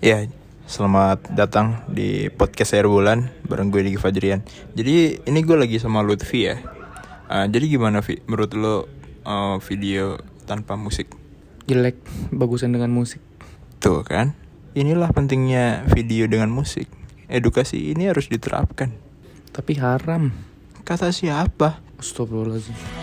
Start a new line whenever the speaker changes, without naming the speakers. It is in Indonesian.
Ya, selamat datang di podcast Air Bulan bareng gue Diki Fajrian. Jadi ini gue lagi sama Lutfi ya. Ah, jadi gimana Vi? Menurut lo eh, video tanpa musik?
jelek bagusan dengan musik
Tuh kan? Inilah pentingnya video dengan musik. Edukasi ini harus diterapkan.
tapi haram
Kata siapa?
Astagfirullahaladzim